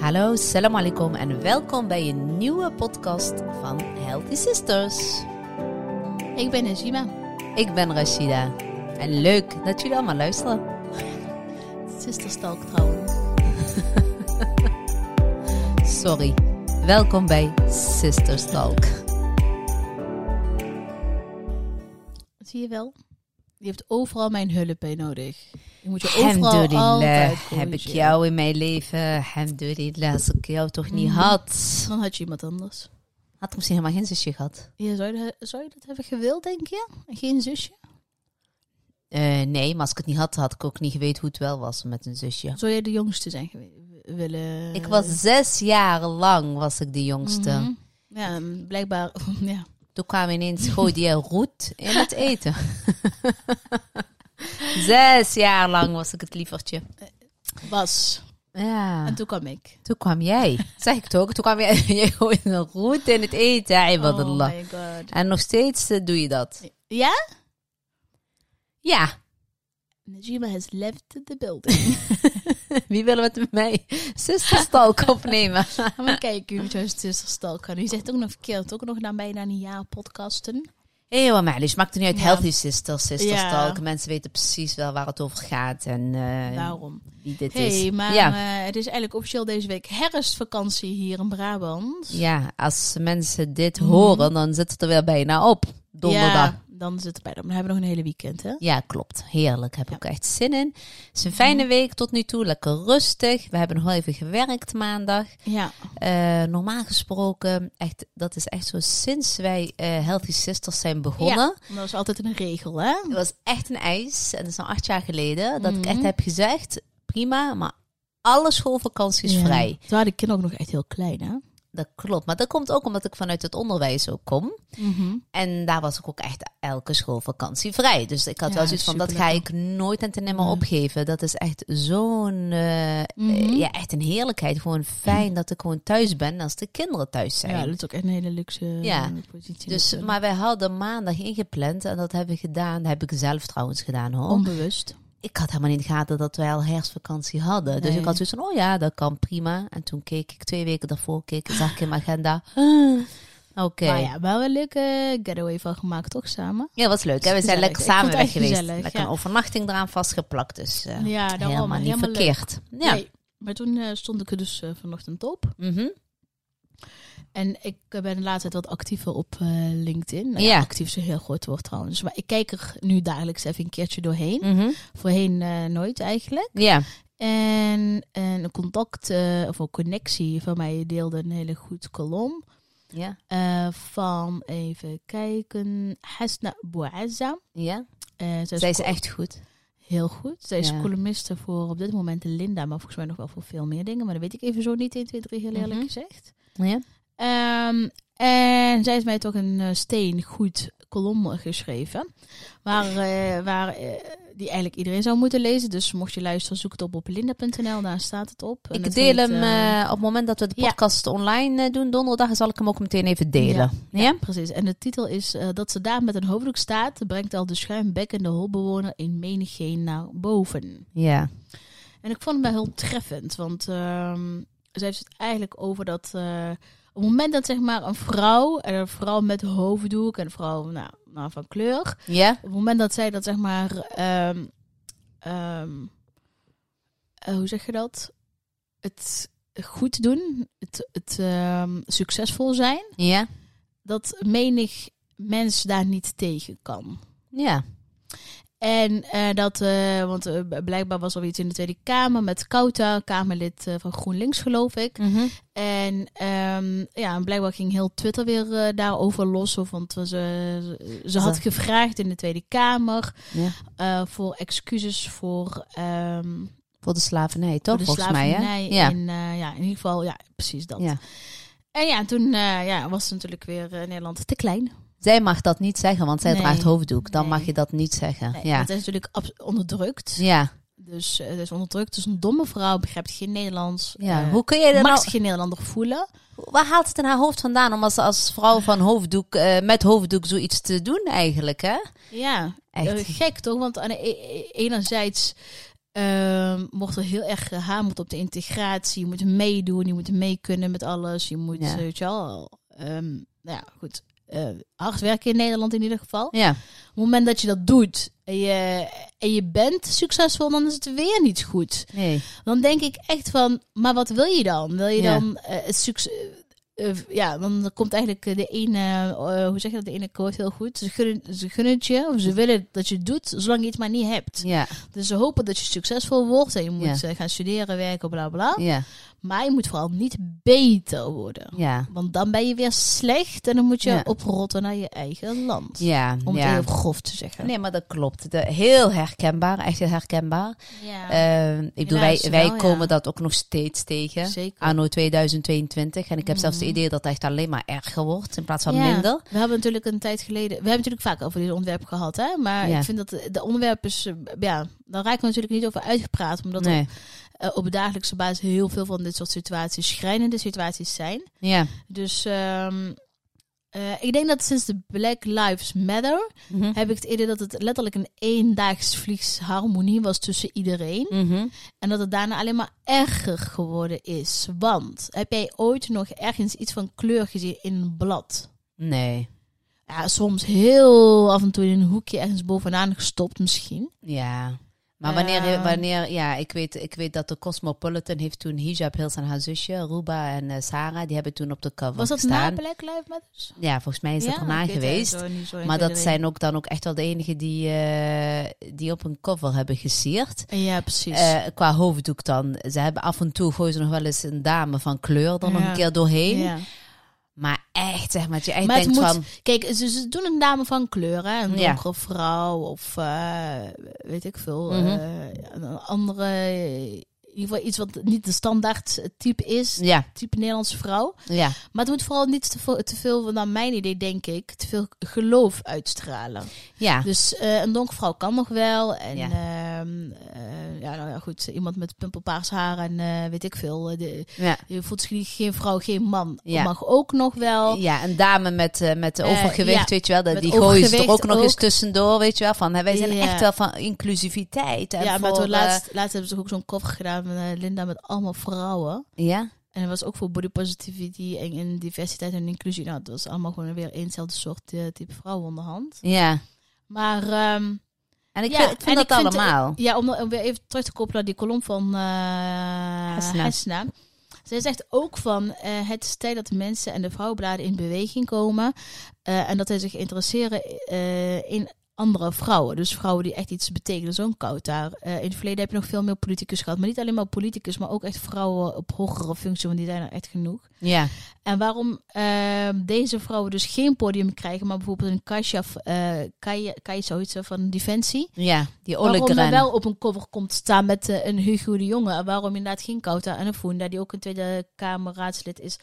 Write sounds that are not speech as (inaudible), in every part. Hallo, salam alaikum en welkom bij een nieuwe podcast van Healthy Sisters. Ik ben Najima, Ik ben Rashida en leuk dat jullie allemaal luisteren. sisterstalk trouwens. Sorry, welkom bij Sisters Talk. Zie je wel? Je hebt overal mijn hulp bij nodig. Je moet je overal altijd Alhamdulillah, heb ik corrigeren. jou in mijn leven. Alhamdulillah, als ik jou toch niet had. Dan had je iemand anders. Mhm. Had ik misschien helemaal geen zusje gehad. Ja, zou, je, zou je dat hebben gewild, denk je? Geen zusje? Eh, nee, maar als ik het niet had, had ik ook niet geweten hoe het wel was met een zusje. Zou jij de jongste zijn gewe- willen? Ik was zes jaar lang, was ik de jongste. Mhm. Ja, en blijkbaar. (laughs) Ja. Toen kwam ineens gooi je roet in het eten. (laughs) Zes jaar lang was ik het lievertje. Was. Ja. En toen kwam ik. Toen kwam jij, zeg ik toch? Toen kwam jij, (laughs) jij gooide een roet in het eten, Oh ibadallah. my god. en nog steeds eh, doe je dat. Ja? Ja, Najima has left the building. (laughs) (laughs) wie wil het met mij zusterstalk (laughs) opnemen? Gaan we kijken hoe het jouw sisterstalk kan. U zegt ook nog verkeerd. Ook nog naar bijna een jaar podcasten. Hé, hey, maar maakt het niet uit. Ja. Healthy sisters, Ja. sisterstalk. Mensen weten precies wel waar het over gaat en eh, Daarom. wie dit is. hey, maar ja. eh, het is eigenlijk officieel deze week herfstvakantie hier in Brabant. Ja, als mensen dit horen, dan zit het er weer bijna op. Donderdag. Mhm. Ja, Ja, dan zit het bijna. Dan hebben we nog een hele weekend, hè? klopt. Heerlijk. Heb ik ook echt zin in. Het is Mhm. een fijne week tot nu toe. Lekker rustig. We hebben nog wel even gewerkt maandag. Ja. Eh, normaal gesproken, echt, dat is echt zo sinds wij eh, Healthy Sisters zijn begonnen. Ja, dat is altijd een regel, hè? Het was echt een eis. En dat is al acht jaar geleden. Dat ik Mhm. echt heb gezegd, prima, maar alle schoolvakanties Ja. vrij. Toen waren de kinderen ook nog echt heel klein, hè? Dat klopt. Maar dat komt ook omdat ik vanuit het onderwijs ook kom. Mhm. En daar was ik ook echt elke schoolvakantie vrij. Dus ik had Ja, wel zoiets van, dat ga ik nooit en ten nimmer opgeven. Dat is echt zo'n, eh, eh, Mhm. ja, echt een heerlijkheid. Gewoon fijn dat ik gewoon thuis ben als de kinderen thuis zijn. Ja, dat is ook echt een hele luxe Ja. eh, positie. dus, natuurlijk. maar wij hadden maandag ingepland en dat hebben we gedaan. Dat heb ik zelf trouwens gedaan hoor. Onbewust. Ik had helemaal niet in de gaten dat wij al herfstvakantie hadden. Dus Nee. ik had zoiets van, oh ja, dat kan prima. En toen keek ik twee weken daarvoor, keek, zag ik in mijn agenda. Oké. Ah. Maar ja, wel een leuke getaway van gemaakt, toch, samen? Ja, was leuk. Hè? We zijn Gezellig. lekker Ik vond samen het weg echt geweest. gezellig, lekker ja. een overnachting eraan vastgeplakt. Dus eh, Ja, daarom. helemaal niet Helemaal leuk. verkeerd. Ja. Nee, maar toen eh, stond ik er dus eh, vanochtend op. Mhm. En ik eh, ben de laatste tijd wat actiever op eh, LinkedIn. Nou Ja. Actief is een heel groot woord trouwens. Maar ik kijk er nu dagelijks even een keertje doorheen. Mhm. Voorheen eh, nooit eigenlijk. Ja. En, en een contact eh, of een connectie van mij deelde een hele goed kolom. Ja. eh, van even kijken. Hasna Bouazza. Ja. Eh, zij is Zij is co- echt goed. heel goed. Zij is Ja. columniste voor op dit moment de Linda. Maar volgens mij nog wel voor veel meer dingen. Maar dat weet ik even zo niet 1, 2, 3 heel eerlijk Mhm. gezegd. Ja. Ehm, en zij heeft mij toch een eh, steen goed kolom geschreven. Waar, eh, waar, eh, die eigenlijk iedereen zou moeten lezen. Dus mocht je luisteren, zoek het op op linda.nl. Daar staat het op. En Ik het deel heet, hem eh, eh, op het moment dat we de ja. podcast online eh, doen, donderdag, zal ik hem ook meteen even delen. Ja? ja, precies. En de titel is eh, dat ze daar met een hoofddoek staat, brengt al de schuimbekkende holbewoner in menigeen naar boven. Ja. En ik vond hem wel heel treffend, want ehm zij heeft het eigenlijk over dat eh, op het moment dat zeg maar een vrouw, en een vrouw met hoofddoek en een vrouw nou, nou, van kleur, Ja? op het moment dat zij dat zeg maar. ehm, ehm, eh, hoe zeg je dat? Het goed doen, het, het ehm, succesvol zijn, Ja. dat menig mens daar niet tegen kan. Ja. En eh, dat, eh, want eh, blijkbaar was er iets in de Tweede Kamer met Kouta, Kamerlid eh, van GroenLinks geloof ik. Mhm. En ehm, ja, en blijkbaar ging heel Twitter weer eh, daarover los. Of, want eh, ze, ze- ze had Ze- gevraagd in de Tweede Kamer Ja. eh, voor excuses voor, ehm, Voor de slavernij, toch? voor de volgens slavernij. mij, hè? Ja. In, eh, ja, in ieder geval, ja, precies dat. ja. En ja, toen eh, ja, was het natuurlijk weer eh, Nederland te klein. Zij mag dat niet zeggen, want zij Nee. draagt hoofddoek. Dan Nee. mag je dat niet zeggen. Nee, ja. want Het is natuurlijk abs- onderdrukt. Ja. Dus eh, het is onderdrukt. Dus een domme vrouw begrijpt geen Nederlands. ja. eh, Hoe kun je dat mag nou... ze geen Nederlander voelen. Waar haalt het in haar hoofd vandaan om als, als vrouw van hoofddoek, eh, met hoofddoek zoiets te doen eigenlijk, hè? Ja, Echt. Eh, gek toch? Want aan de e- e- enerzijds eh, Ehm, wordt er heel erg gehamerd op de integratie. Je moet meedoen, je moet mee kunnen met alles. Je moet, Ja. eh, weet je wel, ehm, nou ja, goed. eh, hard werken in Nederland in ieder geval. Ja. Op het moment dat je dat doet en je, en je bent succesvol, dan is het weer niet goed. Nee. Dan denk ik echt van, maar wat wil je dan? Wil je Ja. dan eh, het succes... eh, eh, ja, dan komt eigenlijk eh, de ene, eh, hoe zeg je dat, de ene quote heel goed. Ze gunnen, ze gunnen het je, of ze willen dat je het doet, zolang je het maar niet hebt. Ja. Dus ze hopen dat je succesvol wordt en je moet Ja. eh, gaan studeren, werken, bla bla. Ja. Maar je moet vooral niet beter worden. Ja. Want dan ben je weer slecht en dan moet je Ja. oprotten naar je eigen land. Ja. Om ja. het heel grof te zeggen. Nee, maar dat klopt. De- heel herkenbaar, echt heel herkenbaar. Ja, Eh, ik bedoel, wij, Helaas wij wel, komen ja. dat ook nog steeds tegen. zeker. Anno 2022. En ik heb zelfs het Mhm. idee dat het echt alleen maar erger wordt in plaats van Ja, minder. We hebben natuurlijk een tijd geleden. We hebben natuurlijk vaak over dit onderwerp gehad, hè? Maar Ja. ik vind dat de- de onderwerpen. is, eh, Ja, daar raken we natuurlijk niet over uitgepraat. Omdat er, Nee. eh, op dagelijkse basis heel veel van dit soort situaties, schrijnende situaties zijn. Ja. Dus ehm, eh, ik denk dat sinds de Black Lives Matter Mhm. heb ik het idee dat het letterlijk een eendaags vliegs harmonie was tussen iedereen. Mhm. En dat het daarna alleen maar erger geworden is. Want heb jij ooit nog ergens iets van kleur gezien in een blad? Nee. Ja, soms heel af en toe in een hoekje ergens bovenaan gestopt misschien. Ja. Maar wanneer, Ehm. wanneer ja, ik weet, ik weet dat de Cosmopolitan heeft toen Hijab Hills en haar zusje, Ruba en eh, Sarah, die hebben toen op de cover Was dat na gestaan. Black Lives Matter? ja, volgens mij is dat erna geweest. Maar dat zijn ook dan ook echt wel de enigen die, eh, die op een cover hebben gesierd. Ja, precies. Eh, qua hoofddoek dan. Ze hebben af en toe gooien ze nog wel eens een dame van kleur er nog Ja. een keer doorheen. Ja. Maar echt, zeg maar, dat je echt Maar het denkt moet- van... Kijk, ze, ze doen een dame van kleur, hè? een Ja. donkere vrouw of eh, weet ik veel, eh, Mhm. een andere, in ieder geval iets wat niet de standaard type is, Ja, type Nederlandse vrouw. ja. Maar het moet vooral niet te, veel- te veel, naar mijn idee denk ik, te veel geloof uitstralen. Ja, Dus eh, een donkere vrouw kan nog wel. En Ja. ehm, eh, ja, nou ja, goed, iemand met pimpelpaars haar en eh, weet ik veel. eh, De, ja. je voelt zich niet- geen vrouw, geen man. Ja. Mag ook nog wel. Ja, een dame met, eh, met Eh, overgewicht, ja, weet je wel. dat- met Die gooien ze er ook overgewicht nog eens ook. tussendoor, weet je wel. Van, hè, wij zijn Ja. echt wel van inclusiviteit. En Ja, maar voor, toen eh, laatst, laatst hebben ze toch ook zo'n koffer gedaan met eh, Linda met allemaal vrouwen. ja? En dat was ook voor body positivity en, en diversiteit en inclusie. Nou, het was allemaal gewoon weer eenzelfde soort eh, type vrouw onderhand. Ja. Maar ehm, En ik Ja, vind, ik vind en dat ik vind- allemaal. ja, om, om weer even terug te koppelen naar die kolom van eh Hesna. Hesna. Zij zegt ook van eh, het is tijd dat de mensen en de vrouwenbladen in beweging komen. eh, en dat zij zich interesseren eh, in andere vrouwen. Dus vrouwen die echt iets betekenen. Zo'n koud daar. in het verleden heb je nog veel meer politicus gehad. Maar niet alleen maar politicus, maar ook echt vrouwen op hogere functie. Want die zijn er echt genoeg. ja. En waarom eh, deze vrouwen dus geen podium krijgen. Maar bijvoorbeeld een Kasia, eh Kai, Kai Zoitse van Defensie. ja, die Waarom er ollekeren. wel op een cover komt staan met eh, een Hugo de Jonge. En waarom inderdaad geen Kauta en een Funda, die ook een Tweede Kamerraadslid is.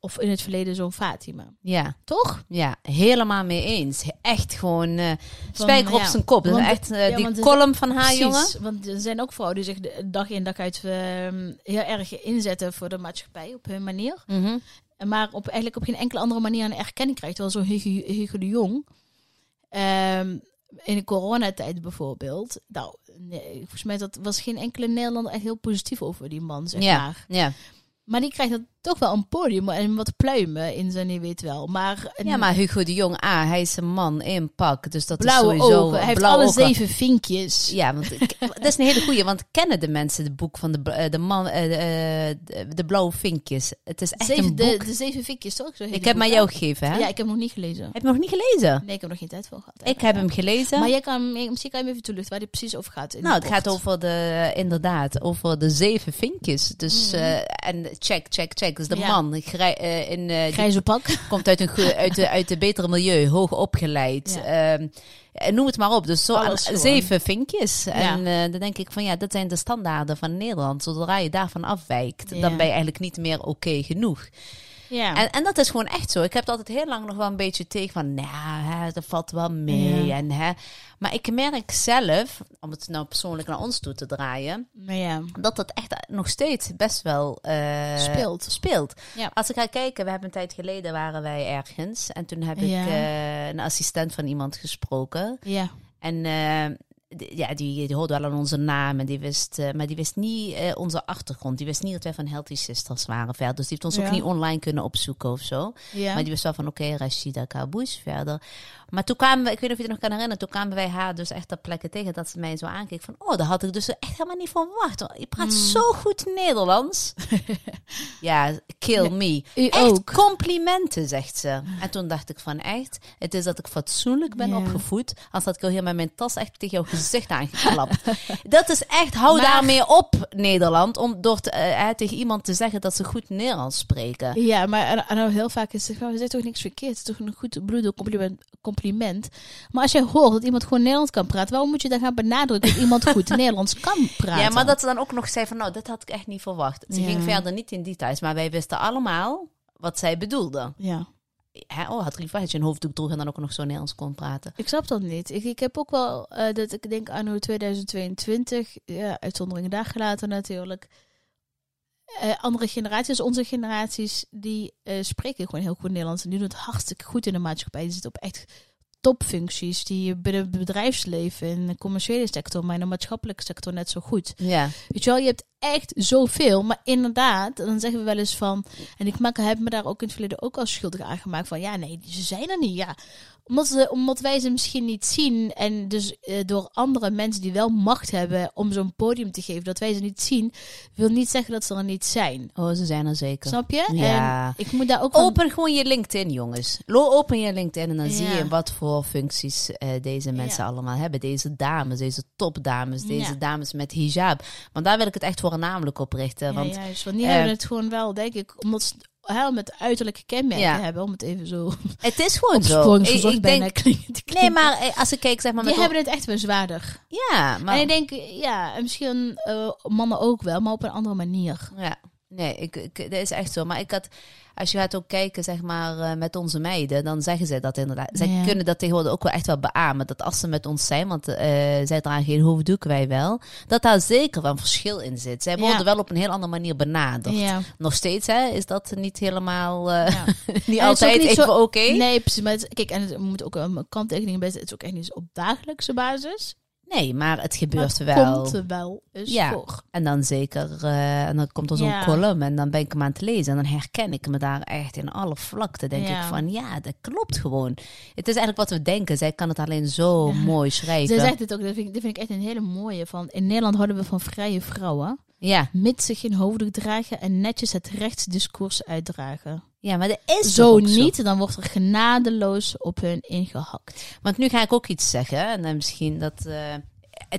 Of in het verleden zo'n Fatima. Ja, Toch? ja, helemaal mee eens. Echt gewoon eh, spijker op ja. zijn kop. Dat is Want- echt eh, ja, die want het- column van haar, Precies, jongen. Want er zijn ook vrouwen die zich de- dag in dag uit ehm, heel erg inzetten voor de maatschappij op hun manier. Mhm. Maar op, eigenlijk op geen enkele andere manier een erkenning krijgt. Terwijl zo'n Hugo, Hugo de Jong. ehm, in de coronatijd bijvoorbeeld. Nou, nee, volgens mij dat was geen enkele Nederlander echt heel positief over die man, zeg Ja. maar. Ja. Maar die krijgt dat toch wel een podium en wat pluimen in zijn, je weet wel. Maar, een ja, maar Hugo de Jong, ah, hij is een man in pak. Dus dat blauwe is sowieso... ogen. Hij heeft blauwe alle ogen. zeven vinkjes. Ja, want ik- (laughs) dat is een hele goeie. Want kennen de mensen het boek van de, bl- eh, de, man, eh, de, eh, de, de blauwe vinkjes? Het is echt zeven, een de, boek. de zeven vinkjes, toch? Zo heet ik het heb boek, maar hè? jou gegeven, hè? Ja, ik heb hem nog niet gelezen. Heb je nog niet gelezen? Nee, ik heb nog geen tijd voor gehad. Ik heb hem gelezen. Maar jij kan, misschien kan je hem even toelichten waar dit precies over gaat. in nou, het het gaat kort. over de, inderdaad, over de zeven vinkjes. Dus, eh, en check, check, check. Dus de Mhm. Ja. man grij- eh, in, eh, die Grijze pak. (laughs) komt uit een, goe- uit, de, uit de betere milieu, hoog opgeleid. Ja. ehm, en noem het maar op. Dus zo aan Alles gewoon. zeven vinkjes. En Ja. eh, dan denk ik van ja, dat zijn de standaarden van Nederland. Zodra je daarvan afwijkt, Ja. dan ben je eigenlijk niet meer oké genoeg. Ja. En, en dat is gewoon echt zo. Ik heb het altijd heel lang nog wel een beetje tegen van, nou, hè, dat valt wel mee. Ja. En, hè. Maar ik merk zelf, om het nou persoonlijk naar ons toe te draaien, maar ja. dat dat echt nog steeds best wel eh, Speelt. speelt. Ja. Als ik ga kijken, we hebben een tijd geleden waren wij ergens en toen heb ik Ja. eh, een assistent van iemand gesproken Ja. en eh, d- ja, die, die hoorde wel aan onze naam, en die wist, eh, maar die wist niet eh, onze achtergrond. Die wist niet dat wij van Healthy Sisters waren verder. Dus die heeft ons Ja. ook niet online kunnen opzoeken of zo. Ja. Maar die wist wel van, oké, Rashida Kaboes verder. Maar toen kwamen we, ik weet niet of je het nog kan herinneren, toen kwamen wij haar dus echt ter plekke tegen dat ze mij zo aankeek van, oh, dat had ik dus echt helemaal niet verwacht. Je praat Mm. zo goed (laughs) Nederlands. ja, kill me. u echt ook. complimenten, zegt ze. En toen dacht ik van, echt, het is dat ik fatsoenlijk ben Ja. opgevoed, als had ik al helemaal mijn tas echt tegen jouw gezicht (laughs) aangeklapt. dat is echt, hou Maar- daarmee op, Nederland, om door te, eh, eh, tegen iemand te zeggen dat ze goed Nederlands (laughs) spreken. Ja, maar en- en nou, heel vaak is het gewoon, er zit toch niks verkeerd. Het is toch een goed bedoelde compliment, compliment. Maar als jij hoort dat iemand gewoon Nederlands kan praten, waarom moet je dan gaan benadrukken dat iemand (laughs) goed Nederlands kan praten? Ja, maar dat ze dan ook nog zei van, nou, dat had ik echt niet verwacht. Ze Ja. ging verder niet in details, maar wij wisten allemaal wat zij bedoelde. Ja, Hè? Oh, had lief dat je een hoofddoek droeg en dan ook nog zo Nederlands kon praten. ik snap dat niet. Ik, ik heb ook wel eh, dat ik denk anno 2022, ja, uitzonderingen daar gelaten natuurlijk. Eh, andere generaties, onze generaties, die eh, spreken gewoon heel goed Nederlands. En die doen het hartstikke goed in de maatschappij. Die zitten op echt topfuncties die binnen het bedrijfsleven, in de commerciële sector, maar in de maatschappelijke sector net zo goed. Ja, Weet je wel, je hebt echt zoveel. Maar inderdaad, dan zeggen we wel eens van. En ik maak, heb me daar ook in het verleden ook als schuldig aan gemaakt. Van ja, nee, ze zijn er niet. Ja. Omdat, ze, omdat wij ze misschien niet zien. En dus eh, door andere mensen die wel macht hebben om zo'n podium te geven, dat wij ze niet zien, wil niet zeggen dat ze er niet zijn. oh, ze zijn er zeker. Snap je? Ja. En ik moet daar ook van- Open gewoon je LinkedIn, jongens. Lo- Open je LinkedIn en dan Ja. zie je wat voor functies eh, deze mensen Ja. allemaal hebben. Deze dames, deze topdames, deze Ja. dames met hijab. Want daar wil ik het echt voornamelijk op richten. Ja, Want juist. Want die eh, hebben het gewoon wel, denk ik, omdat ze hè, om het uiterlijke kenmerken Ja. hebben. Om het even zo het is gewoon zo. Ik, opsporingsgezocht ik bijna denk, klinkt te nee, (laughs) klinken. maar eh, als ik kijk, zeg maar. die Met hebben het echt wel zwaarder. Ja, maar. En ik denk, ja, en misschien eh, mannen ook wel, maar op een andere manier. Ja, nee, ik, ik, dat is echt zo. Maar ik had, als je gaat ook kijken, zeg maar, eh, met onze meiden, dan zeggen zij dat inderdaad. Zij Ja. kunnen dat tegenwoordig ook wel echt wel beamen. Dat als ze met ons zijn, want eh, zij dragen geen hoofddoek, wij wel. Dat daar zeker wel een verschil in zit. Zij Ja. worden wel op een heel andere manier benaderd. Ja. Nog steeds hè, is dat niet helemaal, eh, Ja. (laughs) niet ook altijd niet zo- even oké. Nee. Nee, precies. Maar het is- kijk, en het moet ook een kanttekening bij. zijn, Het is ook echt niet op dagelijkse basis. maar het Maar gebeurt het wel. komt er wel eens Ja. voor. En dan zeker, eh, en dan komt er zo'n Ja. column en dan ben ik hem aan het lezen. En dan herken ik me daar echt in alle vlakten. Denk Ja. ik van, ja, dat klopt gewoon. Het is eigenlijk wat we denken. Zij kan het alleen zo Ja. mooi Ze schrijven. zegt het ook, dat vind, ik, dat vind ik echt een hele mooie. Van, in Nederland houden we van vrije vrouwen. Ja. Mits ze geen hoofddoek dragen en netjes het rechtsdiscours uitdragen. ja, maar dat is toch Zo ook niet, dan wordt er genadeloos op hun ingehakt. Want nu ga ik ook iets zeggen. En dan misschien dat... eh,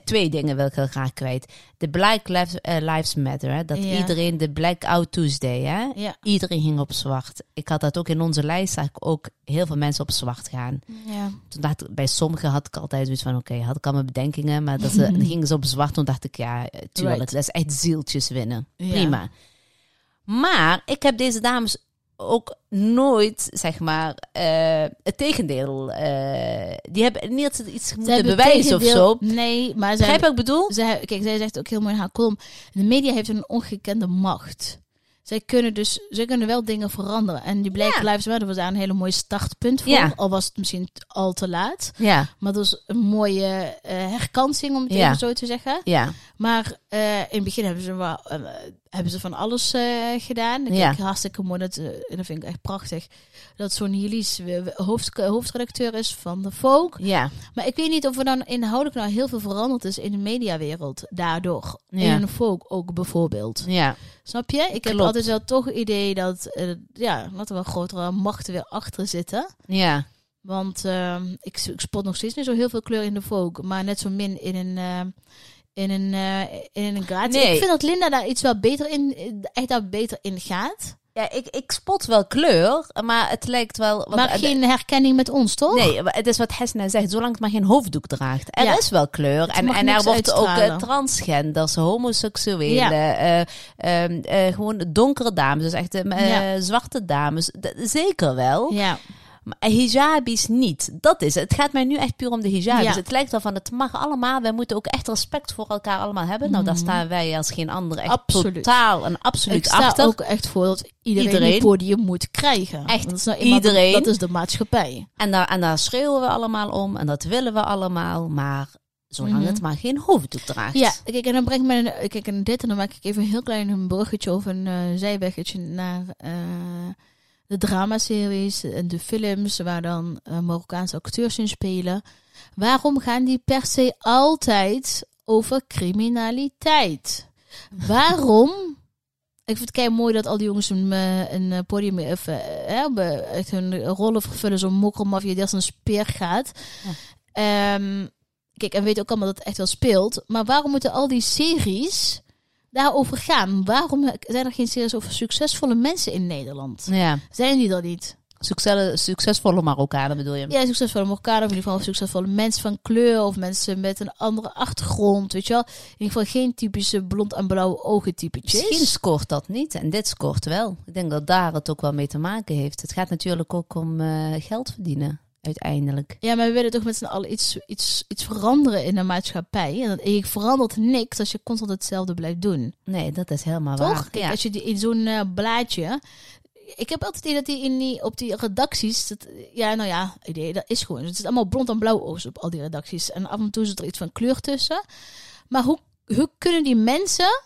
Twee dingen wil ik heel graag kwijt. De Black Lives, eh, Lives Matter. Hè? Dat Ja. iedereen de Blackout Tuesday. Hè? Ja. Iedereen ging op zwart. Ik had dat ook in onze lijst. Zag ik ook heel veel mensen op zwart gaan. ja. Toen dacht ik, bij sommigen had ik altijd zoiets van, oké, had ik al mijn bedenkingen, maar dat ze, (laughs) dan gingen ze op zwart, toen dacht ik, ja, eh, tuurlijk, Right. dat is echt zieltjes winnen. Ja. Prima. Maar ik heb deze dames ook nooit, zeg maar, eh, het tegendeel, eh, die hebben niet dat ze iets moeten hebben bewijzen of zo. tegendeel- Nee, maar ze Begrijp je wat ik bedoel? zij, kijk, zij zegt ook heel mooi in haar column. De media heeft een ongekende macht. Zij kunnen dus, zij kunnen wel dingen veranderen. En die Black Ja. Lives Matter was daar een hele mooi startpunt voor. Ja. Al was het misschien t- al te laat. Ja, Maar dat was een mooie eh, herkansing, om het Ja. even zo te zeggen. ja, Maar eh, in het begin hebben ze, wel, eh, hebben ze van alles eh, gedaan. Ik Ja. kijk hartstikke mooi, dat, eh, en dat vind ik echt prachtig. Dat zo'n Hilis weer- weer hoofd, hoofdredacteur is van de Folk. ja, Maar ik weet niet of er dan inhoudelijk nou heel veel veranderd is in de mediawereld daardoor. Ja. In de folk ook bijvoorbeeld. ja. Snap je? Ik heb Klopt. altijd wel toch het idee dat, eh, ja, dat er wel grotere machten weer achter zitten. ja. Want ehm, ik, s- ik spot nog steeds niet zo heel veel kleur in de folk. Maar net zo min in een... eh, in een, eh, in een gratie. Nee. Ik vind dat Linda daar iets wel beter in, eh, echt daar beter in gaat. Ja, ik, ik spot wel kleur, maar het lijkt wel... want maar het- geen herkenning met ons, toch? Nee, maar het is wat Hesna zegt. Zolang het maar geen hoofddoek draagt. Er Ja. is wel kleur. En, mag en er niks wordt ook uitstralen. eh, transgenders, homoseksuelen, Ja. eh, ehm, eh, gewoon donkere dames. Dus echt eh, eh, zwarte dames. D- zeker wel. Ja. Maar hijabis niet. Dat is het. Het gaat mij nu echt puur om de hijabis. Ja. Het lijkt wel van, het mag allemaal. Wij moeten ook echt respect voor elkaar allemaal hebben. Nou, daar staan wij als geen ander echt Mhm. Absoluut. totaal en absoluut Ik sta achter. ook echt voor dat iedereen, Iedereen. een podium moet krijgen. Echt, dat is nou eenmaal de- iedereen. Dat is de maatschappij. En daar, en daar schreeuwen we allemaal om en dat willen we allemaal. Maar zolang Mhm. het maar geen hoofddoek draagt. Ja, kijk, en dan breng ik mij een- kijk, en dit en dan maak ik even een heel klein een bruggetje of een eh, zijweggetje naar eh, de dramaseries en de films waar dan eh, Marokkaanse acteurs in spelen. Waarom gaan die per se altijd over criminaliteit? Waarom? Ik vind het kei mooi dat al die jongens een, eh, een eh, podium of, eh, hebben, echt hun rollen vervullen, zo'n mokkelmafje die als een speer gaat. Ehm, Kijk, en we weten ook allemaal dat het echt wel speelt. Maar waarom moeten al die series daarover gaan? Waarom zijn er geen series over succesvolle mensen in Nederland? Ja. Zijn die er niet? Succes, succesvolle Marokkanen bedoel je? Ja, succesvolle Marokkanen, of in ieder geval succesvolle mensen van kleur... of mensen met een andere achtergrond, weet je wel? In ieder geval geen typische blond en blauwe ogen typetjes. Misschien scoort dat niet en dit scoort wel. Ik denk dat daar het ook wel mee te maken heeft. Het gaat natuurlijk ook om eh, geld verdienen, uiteindelijk. Ja, maar we willen toch met z'n allen iets, iets, iets veranderen in de maatschappij. En dat, en je verandert niks als je constant hetzelfde blijft doen. Nee, dat is helemaal Toch? waar. Kijk, Ja. als je die, in zo'n eh, blaadje. Ik heb altijd het idee dat die in die, op die redacties. Dat, ja, nou ja, idee, dat is gewoon. Het is allemaal blond en blauw oogst op al die redacties. En af en toe zit er iets van kleur tussen. Maar hoe, hoe kunnen die mensen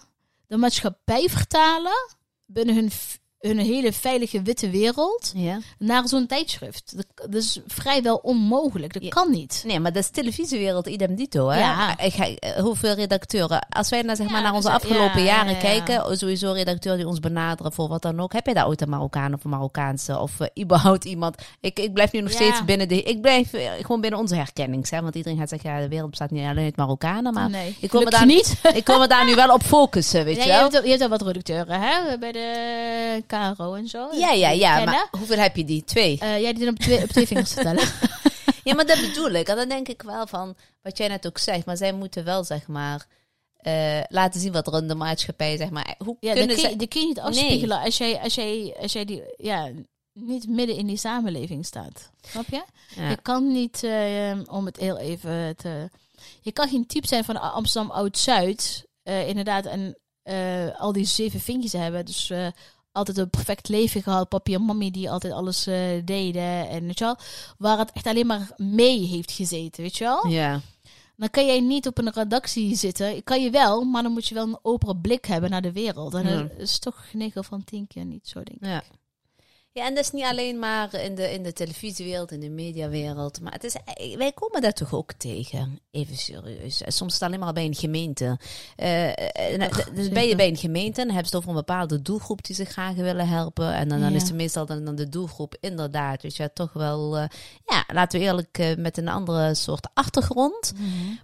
de maatschappij vertalen binnen hun, v- hun hele veilige witte wereld Ja. naar zo'n tijdschrift? Dat, dat is vrijwel onmogelijk. Dat Ja. kan niet. Nee, maar dat is televisiewereld idem dito. Hè? Ja. Ik ga- eh, hoeveel redacteuren. Als wij nou, zeg Ja, maar naar dus, onze afgelopen ja, jaren ja, ja. kijken, oh, sowieso redacteuren die ons benaderen voor wat dan ook. Heb je daar ooit een Marokkaan of een Marokkaanse of eh, überhaupt iemand? Ik, ik blijf nu nog Ja. steeds binnen de. Ik blijf eh, gewoon binnen onze herkennings. Hè? Want iedereen gaat zeggen, ja, de wereld bestaat niet alleen uit Marokkanen. (laughs) Maar nee, ik wil me gelukkig daar- niet. ik wil me daar nu wel op focussen, weet Ja, je je, wel. hebt, al- je hebt al wat redacteuren, hè? Bij de KRO en zo. Ja, ja, ja. Kennen. Maar hoeveel heb je die? Twee. Eh, ja, die doen op twee, op twee vingers te tellen. Ja, maar dat bedoel ik. En dan denk ik wel van wat jij net ook zegt. Maar zij moeten wel, zeg maar, eh, laten zien wat er in de maatschappij, zeg maar. Hoe Ja, dat kunnen kun, zij... je, dat kun je niet afspiegelen als, jij, als, jij, als jij die, ja, niet midden in die samenleving staat. Snap je? Je Ja. kan niet, eh, om het heel even te... Je kan geen type zijn van Amsterdam Oud-Zuid, eh, inderdaad, en eh, al die zeven vinkjes hebben. Dus eh, altijd een perfect leven gehad. Papi en mami die altijd alles eh, deden. En weet je wel, waar het echt alleen maar mee heeft gezeten, weet je wel? Ja. Dan kan jij niet op een redactie zitten. Kan je wel, maar dan moet je wel een opere blik hebben naar de wereld. En dat is toch 9 van 10 keer niet zo, denk ik. Ja. Ja, en dat is niet alleen maar in de, in de televisiewereld, in de mediawereld. Maar het is, eh, wij komen daar toch ook tegen. Even serieus. En Soms is het alleen maar bij een gemeente. Eh, eh, nou, Ach, dus ben je zeker. bij een gemeente en dan hebben ze het over een bepaalde doelgroep die ze graag willen helpen. En dan, dan Ja. is het meestal dan, dan de doelgroep inderdaad. Dus ja, toch wel, eh, ja, laten we eerlijk, eh, met een andere soort achtergrond.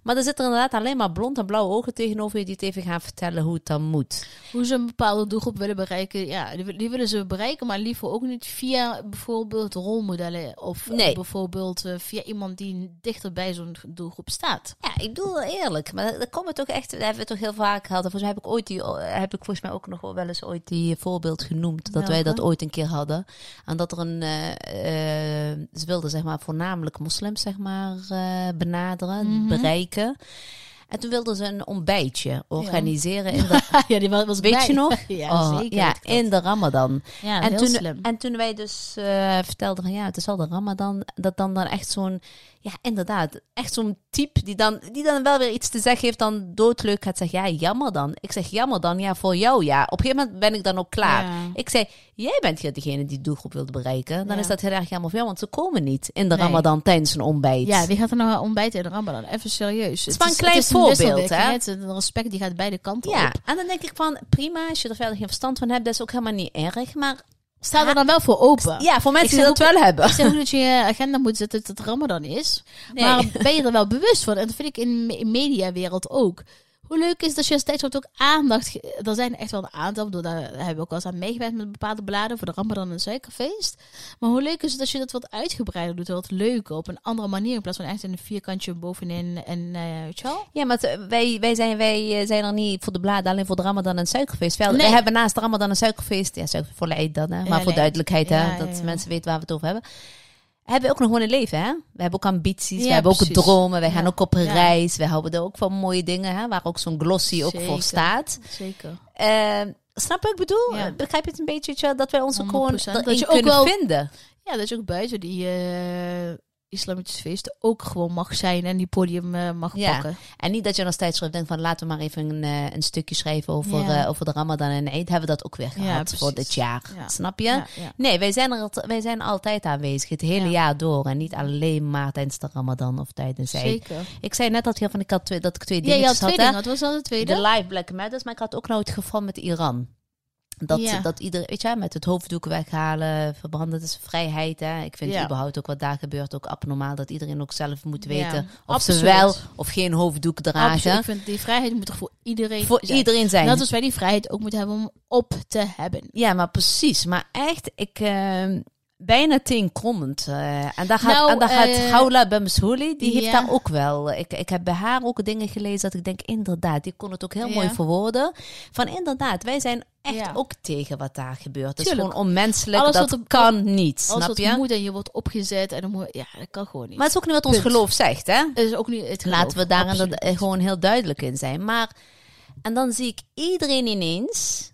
Maar er zitten inderdaad alleen maar blond en blauwe ogen tegenover je die het even gaan vertellen hoe het dan moet. Hoe ze een bepaalde doelgroep willen bereiken, ja, die, wil- die willen ze bereiken, maar liever ook niet via bijvoorbeeld rolmodellen. Of eh, Nee. bijvoorbeeld eh, via iemand die dichter bij zo'n doelgroep staat. (laughs) Ja, ik bedoel wel eerlijk, maar daar komen we toch echt, daar hebben we toch heel vaak gehad. En Volgens mij heb ik ooit die, heb ik volgens mij ook nog wel eens ooit die voorbeeld genoemd dat wij Welke? dat ooit een keer hadden. En dat er een, eh, eh, ze wilden zeg maar voornamelijk moslims zeg maar eh, benaderen, Mhm. bereiken. En toen wilden ze een ontbijtje organiseren (laughs) in de, ja, die wa- was weet bij. je nog? (laughs) ja, Oh, zeker. ja, dat klopt. in de Ramadan. ja En heel toen, slim. en toen wij dus eh, vertelden van ja, het is al de Ramadan, dat dan, dan echt zo'n, ja inderdaad, echt zo'n type die dan, die dan wel weer iets te zeggen heeft, dan doodleuk gaat zeggen, ja jammer dan. Ik zeg jammer dan, ja voor jou ja. Op een gegeven moment ben ik dan ook klaar. Ja. Ik zei, jij bent hier degene die de doelgroep wilde bereiken. Dan Ja. is dat heel erg jammer voor jou, want ze komen niet in de Nee. Ramadan tijdens een ontbijt. Ja, wie gaat er nou ontbijten in de Ramadan? Even serieus. is maar een klein voorbeeld, wisselwerking, hè? Het is een respect die gaat beide kanten Ja, op. en dan denk ik van, prima, als je er verder geen verstand van hebt, dat is ook helemaal niet erg. Maar Sta er dan wel voor open. ja, voor mensen die zeg dat wel hebben. Ik (laughs) zeg ook dat je in je agenda moet zetten dat het Ramadan is. Nee. Maar ben je er wel bewust van? En dat vind ik in de mediawereld ook. Hoe leuk is dat je steeds wat ook aandacht... ge- Er zijn echt wel een aantal, ik bedoel, daar hebben we ook wel eens aan meegewerkt met bepaalde bladen voor de Ramadan en Suikerfeest. Maar hoe leuk is het dat je dat wat uitgebreider doet, wat leuker, op een andere manier, in plaats van echt een vierkantje bovenin en eh weet je wel? Ja, maar t- wij, wij, zijn, wij eh, zijn er niet voor de bladen, alleen voor de Ramadan en suikerfeest. Wij, Nee. wij hebben naast de Ramadan en suikerfeest, ja, suiker voor de Eid dan, hè, maar Ja, voor nee. duidelijkheid, hè, Ja, dat ja, ja. mensen weten waar we het over hebben. Hebben we ook nog gewoon een leven, hè? We hebben ook ambities, we Ja, hebben ook precies. dromen, wij gaan Ja. ook op Ja. reis, we houden er ook van mooie dingen, hè, waar ook zo'n glossy ook voor Zeker. staat. Zeker. Eh, snap je wat ik bedoel? Ja. Eh, Begrijp je het een beetje, weet je wel, dat wij ons ook gewoon 100%. erin Dat je ook kunnen wel- vinden? Ja, dat je ook buiten die eh, islamitische feesten ook gewoon mag zijn en die podium eh, mag Ja. pakken. En niet dat je nog steeds schrijft, denkt van laten we maar even een, eh, een stukje schrijven over, Ja. eh, over de Ramadan en Eid. Hebben we dat ook weer Ja, gehad voor dit precies. jaar? Ja. Snap je? Ja, ja. Nee, wij zijn, er, alt- wij zijn altijd aanwezig, het hele Ja. jaar door. En niet alleen maar tijdens de Ramadan of tijdens Eid. Zeker. Ik zei net dat, hier van, ik had twee, dat ik twee Ja, je had dingetjes twee had. hè? dingen. Wat was dan de tweede? de live Black Matters, maar ik had ook nou het geval met Iran. Dat, Ja. dat ieder, weet je, met het hoofddoek weghalen, verbranden, dat is vrijheid. Hè? Ik vind Ja. überhaupt ook wat daar gebeurt ook abnormaal. Dat iedereen ook zelf moet Ja, weten of ze absoluut. wel of geen hoofddoek dragen. Absoluut. Ik vind die vrijheid moet er voor iedereen Voor zijn. iedereen zijn. Net als wij die vrijheid ook moeten hebben om op te hebben. Ja, maar precies. Maar echt, ik eh, bijna teenkrommend. eh en daar gaat, Nou, en daar gaat eh, Gaula Bemshouli, die heeft ja. daar ook wel. eh, Ik, ik heb bij haar ook dingen gelezen dat ik denk, inderdaad, die kon het ook heel mooi Ja. verwoorden. Van inderdaad, wij zijn echt Ja. ook tegen wat daar gebeurt. Het is Tuurlijk. gewoon onmenselijk, Alles dat wat er- kan niet, Als snap dat je? moet en je wordt opgezet en dan moet, ja, dat kan gewoon niet. Maar het is ook niet wat ons Punt. geloof zegt, hè? het is ook niet het geloof. Laten we daar Absoluut. inderdaad, eh, gewoon heel duidelijk in zijn. Maar, en dan zie ik iedereen ineens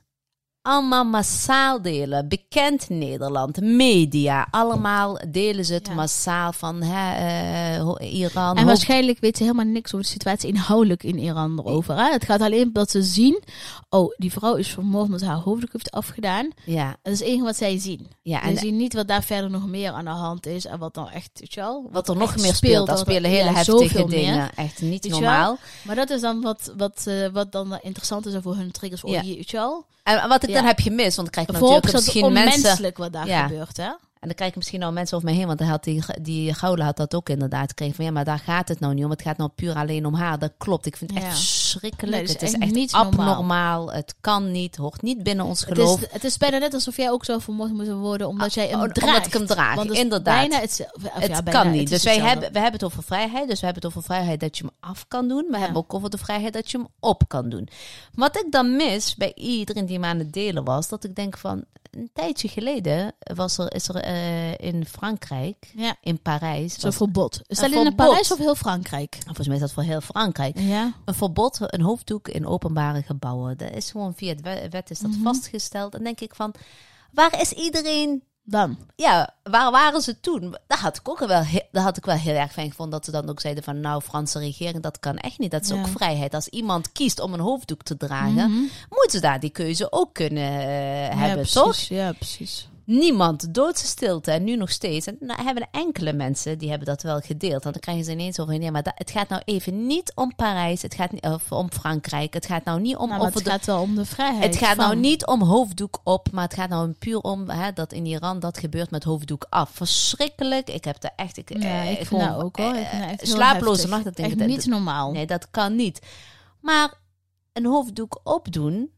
allemaal massaal delen. Bekend Nederland, media, allemaal delen ze het Ja. massaal van hè, eh, ho- Iran. En hoofd- waarschijnlijk weten ze helemaal niks over de situatie inhoudelijk in Iran erover. Hè? Het gaat alleen om dat ze zien, oh, die vrouw is vermoord omdat haar hoofddoek heeft afgedaan. ja, Dat is het enige wat zij zien. ja, En en ze zien niet wat daar verder nog meer aan de hand is en wat dan echt, weet je wel. wat er nog echt meer speelt, speelt, dat dat- spelen hele ja, heftige zoveel meer. dingen. Echt niet Weet je wel? normaal. Maar dat is dan wat, wat, eh, wat dan interessant is en voor hun triggers, oh, Ja. hier, weet je wel. En wat ik dan Ja. heb gemist, want dan krijg ik Voor natuurlijk is dat misschien mensen... onmenselijk wat daar Ja. gebeurt, hè. En dan kijken misschien al mensen over me heen, want dan had die, die Gouden had dat ook inderdaad gekregen. Van ja, maar daar gaat het nou niet om. Het gaat nou puur alleen om haar. Dat klopt. Ik vind het Ja. echt verschrikkelijk. Nee, dat is het is echt, echt niet abnormaal. normaal. Het kan niet. Hoort niet binnen ons Het is, geloof. het is bijna net alsof jij ook zou vermoord moeten worden omdat jij hem Oh, omdat draagt. ik hem draag, Want het is inderdaad. Bijna hetzelfde. Of het ja, bijna, kan niet. het is dus wij hetzelfde. hebben, we hebben het over vrijheid. Dus we hebben het over vrijheid dat je hem af kan doen. We Ja. hebben ook over de vrijheid dat je hem op kan doen. Wat ik dan mis bij iedereen die me aan het delen was, dat ik denk van een tijdje geleden was er, is er eh, in Frankrijk, Ja. in Parijs. Zo'n was- verbod. Is dat Een alleen in verbod. Parijs of heel Frankrijk? volgens mij is dat voor heel Frankrijk. Ja. Een verbod, een hoofddoek in openbare gebouwen. Dat is gewoon via de we- wet is dat Mhm. vastgesteld. En denk ik van, waar is iedereen... Dan. Ja, waar waren ze toen? Daar had ik ook wel, he- daar had ik wel heel erg fijn gevonden. Dat ze dan ook zeiden van, nou, Franse regering, dat kan echt niet. Dat is Ja. ook vrijheid. Als iemand kiest om een hoofddoek te dragen, Mhm. moeten ze daar die keuze ook kunnen eh, Ja, hebben, precies. toch? Ja, precies. Niemand, doodse stilte en nu nog steeds. En nou, hebben enkele mensen die hebben dat wel gedeeld. Want dan krijgen ze ineens over, nee, maar dat, het gaat nou even niet om Parijs, het gaat niet of om Frankrijk, het gaat nou niet om Nou, maar over het de- gaat wel om de vrijheid. het gaat nou van- niet om hoofddoek op, maar het gaat nou puur om hè, dat in Iran dat gebeurt met hoofddoek af. Verschrikkelijk. Ik heb daar echt, ik, Ja, eh, ik vind gewoon, dat ook hoor. Ik eh, vind dat echt heel slaaploze heftig. nacht. Dat denk ik, Echt dat- niet normaal. Nee, dat kan niet. Maar een hoofddoek opdoen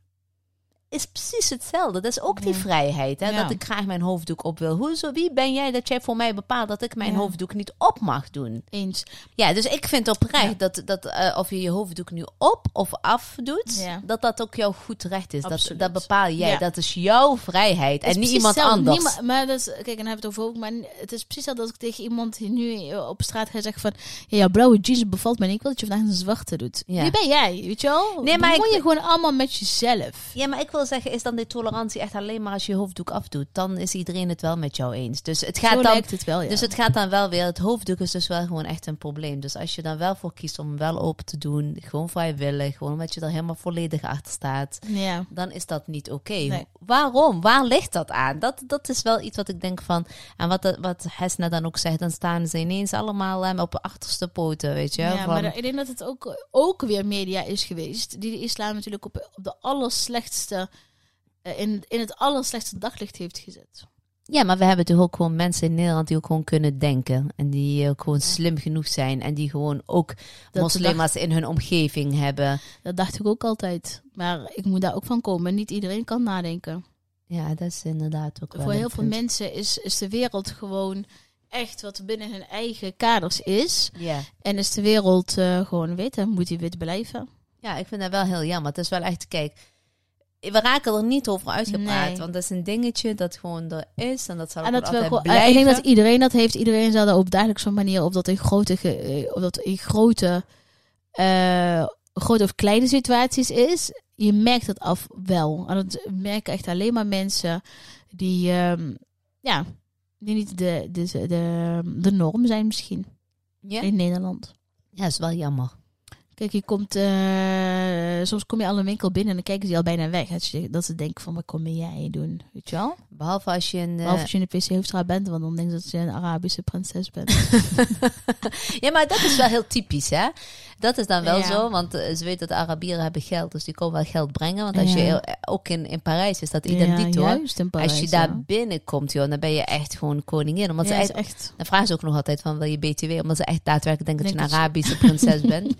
is precies hetzelfde. Dat is ook die Ja. vrijheid, hè? Ja. dat ik graag mijn hoofddoek op wil. Hoezo, wie ben jij dat jij voor mij bepaalt dat ik mijn Ja. hoofddoek niet op mag doen? Eens. Ja, dus ik vind oprecht dat, dat eh, of je je hoofddoek nu op of af doet, Ja. dat dat ook jouw goed recht is. Dat, Absoluut. dat bepaal jij. Ja. Dat is jouw vrijheid Het en is niet iemand precies hetzelfde. anders. Niema- maar dat is, kijk, en dan hebben we het over ook. Maar het is precies dat als ik tegen iemand die nu eh, op straat ga zeggen van... Ja, jouw blauwe jeans bevalt mij niet. Ik wil dat je vandaag een zwarte doet. Ja. Wie ben jij? Weet je wel? Nee, maar Bemoei ik- je gewoon allemaal met jezelf. Ja, maar ik wil zeggen, is dan die tolerantie echt alleen maar als je je hoofddoek afdoet? Dan is iedereen het wel met jou eens. Dus het gaat Zo dan lijkt het wel, Oh, ja. Dus het gaat dan wel weer. Het hoofddoek is dus wel gewoon echt een probleem. Dus als je dan wel voor kiest om hem wel open te doen, gewoon vrijwillig, gewoon omdat je er helemaal volledig achter staat, ja. dan is dat niet oké. Nee. Waarom? Waar ligt dat aan? Dat, dat is wel iets wat ik denk van. En wat, wat Hesna dan ook zegt, dan staan ze ineens allemaal eh, op de achterste poten, weet je? Ja, van, maar daar- ik denk dat het ook, ook weer media is geweest. Die de islam natuurlijk op, op de allerslechtste... eh, In, in het allerslechtste daglicht heeft gezet. ja, maar we hebben toch ook gewoon mensen in Nederland die ook gewoon kunnen denken. En die eh, ook gewoon slim genoeg zijn. En die gewoon ook de moslima's in hun omgeving hebben. Dat dacht ik ook altijd. Maar ik moet daar ook van komen. Niet iedereen kan nadenken. Ja, dat is inderdaad ook wel Voor een heel veel punt. mensen is, is de wereld gewoon echt wat binnen hun eigen kaders is. Ja. En is de wereld eh, gewoon wit en moet die wit blijven. Ja, ik vind dat wel heel jammer. Het is wel echt, kijk, we raken er niet over uitgepraat. Nee. Want dat is een dingetje dat gewoon er is en dat zal En ook dat we altijd gewoon, en blijven. ik denk dat iedereen dat heeft. Iedereen zal daar op dagelijkse manier of dat in grote, ge- eh, of dat in grote, eh, grote of kleine situaties is. Je merkt dat af wel. En dat merken echt alleen maar mensen die, ehm, ja, die niet de, de, de, de, de norm zijn misschien Ja? in Nederland. ja, is wel jammer. Kijk, je komt, eh, soms kom je al een winkel binnen en dan kijken ze je al bijna weg. Dat ze, dat ze denken van, wat kom jij doen? Weet je wel? Behalve als je een... eh, Behalve als je in de PC hoofdstraat bent, want dan denken ze dat je een Arabische prinses (laughs) bent. ja, maar dat is wel heel typisch, hè? Dat is dan wel Ja. zo, want eh, ze weten dat de Arabieren hebben geld, dus die komen wel geld brengen. Want als Ja. je heel- eh, ook in, in Parijs is dat identiek, ja, hoor. juist in als je Parijs, daar ja. binnenkomt, joh, dan ben je echt gewoon koningin. Omdat Ja, ze is echt, echt... dan vragen ze ook nog altijd van, wil je BTW? Omdat ze echt daadwerkelijk denken Denk dat je dat een Arabische prinses (laughs) bent.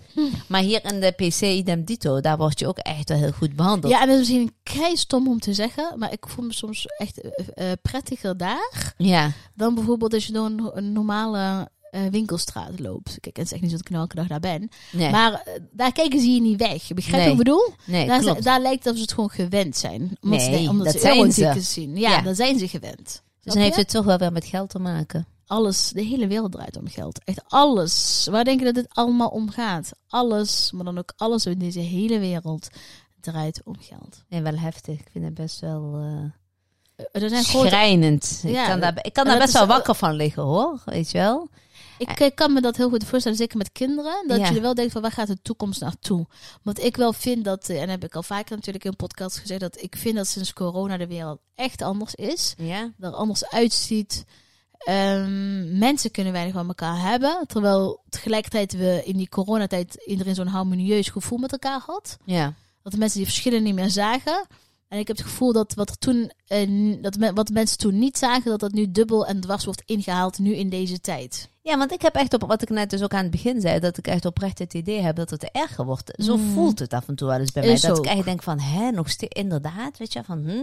Maar hier in de PC idem dito, daar word je ook echt wel heel goed behandeld. Ja, en dat is misschien een kei stom om te zeggen, maar ik voel me soms echt eh, eh, prettiger daar ja. dan bijvoorbeeld als je door een, een normale eh, winkelstraat loopt. Kijk, het is echt niet zo dat ik nou elke dag daar ben. Nee, Maar eh, daar kijken ze je niet weg. Begrijp je Nee. wat ik bedoel? nee daar, klopt. zijn- daar lijkt het alsof nou, ze het gewoon gewend zijn. Omdat ze, Nee, denken- omdat dat ze zijn eurotickets ze. zien. Ja, Ja. daar zijn ze gewend. Dus Snap dan je? heeft het toch wel weer met geld te maken. Alles, de hele wereld draait om geld. Echt alles. Waar denk je dat het allemaal om gaat? Alles, maar dan ook alles in deze hele wereld draait om geld. Nee, wel heftig. Ik vind het best wel... eh, Eh, Er zijn grote schrijnend. Ja, ik kan daar, ik kan en daar dat best wel is- wakker van liggen hoor, weet je wel. Ik eh, kan me dat heel goed voorstellen, zeker met kinderen. Dat Ja. je er wel denkt van waar gaat de toekomst naartoe? Want ik wel vind dat, eh, en heb ik al vaker natuurlijk in podcasts gezegd, dat ik vind dat sinds corona de wereld echt anders is. Ja. Er anders uitziet. Ehm, mensen kunnen weinig van elkaar hebben. Terwijl tegelijkertijd we in die coronatijd iedereen zo'n harmonieus gevoel met elkaar had. Ja. Dat de mensen die verschillen niet meer zagen. En ik heb het gevoel dat wat, er toen, eh, n- dat men- wat mensen toen niet zagen, dat dat nu dubbel en dwars wordt ingehaald nu in deze tijd. ja, want ik heb echt op wat ik net dus ook aan het begin zei, dat ik echt oprecht het idee heb dat het erger wordt. Zo Mm. voelt het af en toe wel eens bij Is mij. Dat ook. ik echt denk van, hè, nog steeds, inderdaad, weet je, van, hm,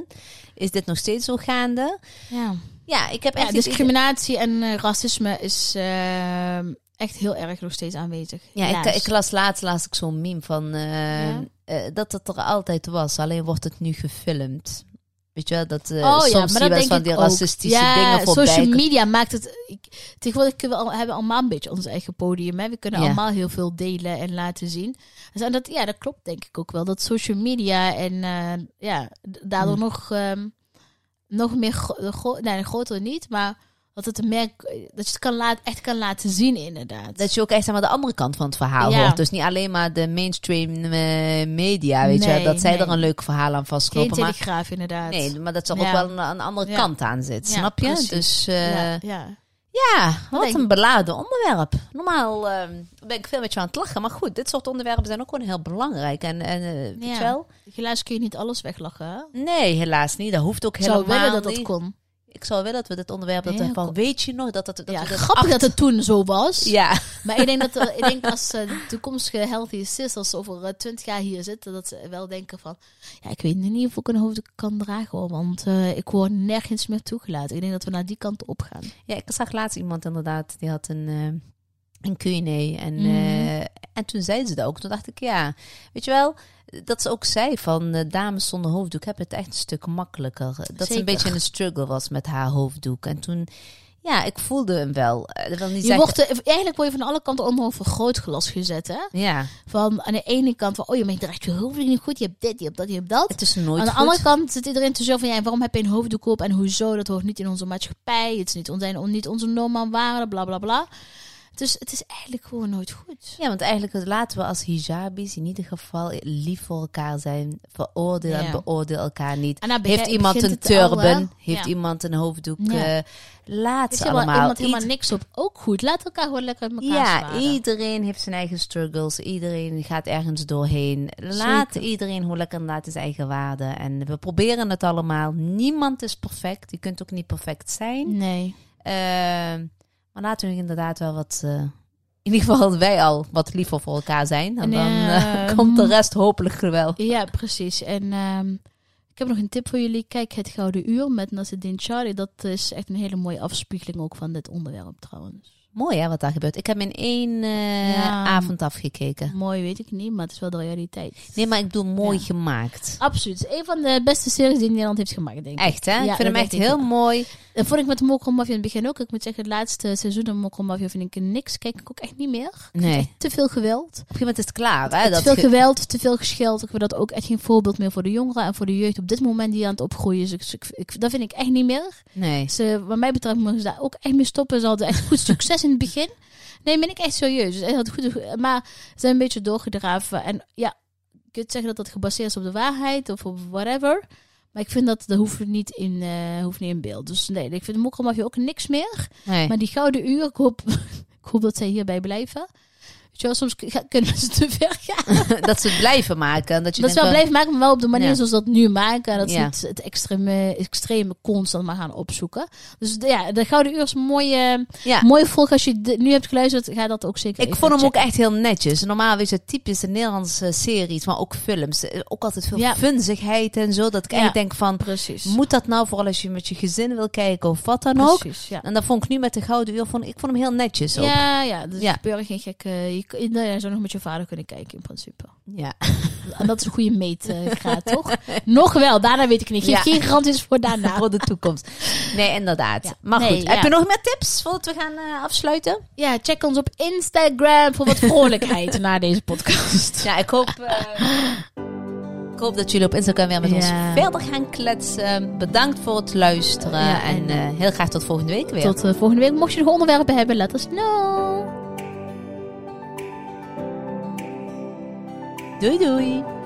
is dit nog steeds zo gaande? Ja. Ja, ik heb echt Ja, het idee- discriminatie en eh, racisme is ehm, echt heel erg nog steeds aanwezig. Ja, ik, Helaas. ik las laatst, laatst ook zo'n meme van eh, Ja. eh, dat het er altijd was, alleen wordt het nu gefilmd. Weet je wel, dat eh, Oh soms ja, maar zie je dat wel denk eens van ik die ook. racistische ja, dingen voorbij. social komen. media maakt het... Ik, tegenwoordig kunnen we al, hebben we allemaal een beetje ons eigen podium. Hè? We kunnen Ja. allemaal heel veel delen en laten zien. Dus, en dat, ja, dat klopt denk ik ook wel. Dat social media en eh, ja, d- daardoor Hm. nog, ehm, nog meer... gro- gro- nee, groter niet, maar dat, het een merk, dat je het kan laat, echt kan laten zien inderdaad. Dat je ook echt zeg maar, de andere kant van het verhaal Ja. hoort. Dus niet alleen maar de mainstream eh, media, weet je, wel, Nee, dat zij nee. er een leuk verhaal aan Geen vastknopen. Maar, telegraaf inderdaad. nee, maar dat er Ja. ook wel een, een andere Ja. kant aan zit, Ja, snap je? precies. Dus eh, ja, ja. ja. wat denk een beladen onderwerp. Normaal eh, ben ik veel met je aan het lachen. Maar goed, dit soort onderwerpen zijn ook gewoon heel belangrijk. En, en eh, weet Ja. je wel? Helaas kun je niet alles weglachen. Hè? Nee, helaas niet. Dat hoeft ook Ik helemaal zou willen dat niet. dat kon. Ik zou willen dat we dit onderwerp, dat Ja, we van, kom. weet je nog, dat, dat, dat ja, we dat grappig achter- dat het toen zo was. Ja, Maar ik denk dat er- ik denk als eh, de toekomstige healthy sisters over eh, twintig jaar hier zitten, dat ze wel denken van, ja, ik weet niet of ik een hoofddoek kan dragen, hoor, want eh, ik word nergens meer toegelaten. Ik denk dat we naar die kant op gaan. Ja, ik zag laatst iemand inderdaad, die had een, eh een Q&A. En, Mhm. eh, en toen zeiden ze dat ook. Toen dacht ik, ja, weet je wel, dat ze ook zei van eh, dames zonder hoofddoek hebben het echt een stuk makkelijker. Dat ze Zeker. een beetje in een struggle was met haar hoofddoek. En toen, ja, ik voelde hem wel. Eh, dat wil niet Je zeggen- wordt, eh, eigenlijk word je van alle kanten onder een vergrootglas gezet, hè? Ja, Van aan de ene kant van, oh, je draagt je hoofddoek niet goed, je hebt dit, je hebt dat, je hebt dat. het is nooit Aan de goed. andere kant zit iedereen te zeggen van ja, waarom heb je een hoofddoek op en hoezo? Dat hoort niet in onze maatschappij. Het is niet, on- zijn, niet onze norm en waarden, bla bla bla. Dus het is eigenlijk gewoon nooit goed. Ja, want eigenlijk eh, laten we als hijabis in ieder geval lief voor elkaar zijn. Veroordeel Ja. en beoordeel elkaar niet. En dan bege- Heeft iemand begint een het al, hè? turban? heeft Ja. iemand een hoofddoek? Ja. eh, laat Heeft ze helemaal, allemaal. iemand helemaal Ied- niks op? Ook goed. Laat elkaar gewoon lekker met elkaar ja, zwaaien. iedereen heeft zijn eigen struggles. Iedereen gaat ergens doorheen. Laat iedereen hoe lekker laat zijn eigen waarde. En we proberen het allemaal. Niemand is perfect. Je kunt ook niet perfect zijn. Nee. Eh, maar laten we inderdaad wel wat... eh, in ieder geval wij al wat liever voor elkaar zijn. En, En, dan eh, (laughs) eh, komt de rest hopelijk wel. Ja, precies. En ehm, ik heb nog een tip voor jullie. Kijk Het Gouden Uur met Nasreddin Charlie. Dat is echt een hele mooie afspiegeling ook van dit onderwerp trouwens. Mooi hè, wat daar gebeurt. Ik heb in één eh, Ja. avond afgekeken. Mooi weet ik niet, maar het is wel de realiteit. Nee, maar ik bedoel mooi Ja. gemaakt. Absoluut. Het is Een van de beste series die Nederland heeft gemaakt, denk ik. Echt hè? Ja, ik dat vind hem echt denk ik heel ook. mooi. Dat vond ik met Mokkel Mafia in het begin ook. Ik moet zeggen, het laatste seizoen van Mokkel Mafia vind ik niks. Kijk ik ook echt niet meer. Nee. Op een Te veel geweld. gegeven moment is het klaar hè? te Dat veel ge- geweld, te veel gescheld. Ik vind dat ook echt geen voorbeeld meer voor de jongeren en voor de jeugd op dit moment die aan het opgroeien is. Dus Ik, ik- ik- dat vind ik echt niet meer. Nee. Ze, wat mij betreft mogen ze daar ook echt mee stoppen. Ze (laughs) hadden echt goed succes in het begin. Nee, ben ik echt serieus. Ze hadden goed, maar ze zijn een beetje doorgedraven. En ja, je kunt zeggen dat dat gebaseerd is op de waarheid of op whatever. Maar ik vind dat, dat hoeft, niet in, eh, hoeft niet in beeld. Dus nee, ik vind de mokkelmafia ook niks meer. nee. Maar die gouden uur, ik hoop, (laughs) ik hoop dat zij hierbij blijven. Weet je wel, soms k- gaan- kunnen ze te ver gaan. (laughs) dat ze het blijven maken. Dat, je Dat ze wel denkt blijven maken, maar wel op de manier Ja. zoals ze dat nu maken. En dat ze Ja. niet het extreme, extreme constant maar gaan opzoeken. Dus de- ja, de Gouden Uur is een mooie, van- Ja. mooie volg. Als je dit nu hebt geluisterd, ga dat ook zeker Ah. Ik even vond hem ook checken. echt heel netjes. Normaal is het typisch de Nederlandse series, maar ook films. Eh, Ook altijd veel Ja. vunzigheid en zo. Dat ik Ja. eigenlijk denk van, Precies. moet dat nou vooral als je met je gezin wil kijken of wat dan ook? Precies, ja. En dat vond ik nu met de Gouden Uur, vond, ik vond hem heel netjes ook. Ja. Ja, ja, dus Ja. ja. gebeuren geen gekke... Je, kun- nou ja, je zou nog met je vader kunnen kijken in principe. Ja. En dat is een goede meetgraad, (laughs) toch? Nog wel, daarna weet ik niet. Geef Ja. geen garanties voor (laughs) daarna. Voor de toekomst. Nee, inderdaad. Ja. Maar Nee, goed, heb ja. je nog meer tips voordat we gaan eh, afsluiten? Ja, check ons op Instagram voor wat vrolijkheid na deze podcast. Ja, ik hoop... eh, ik hoop dat jullie op Instagram weer met ons Ja. verder gaan kletsen. Bedankt voor het luisteren. Ja, en en- eh, heel graag tot volgende week weer. Tot eh, volgende week. Mocht je nog onderwerpen hebben, let us know. Doei doei.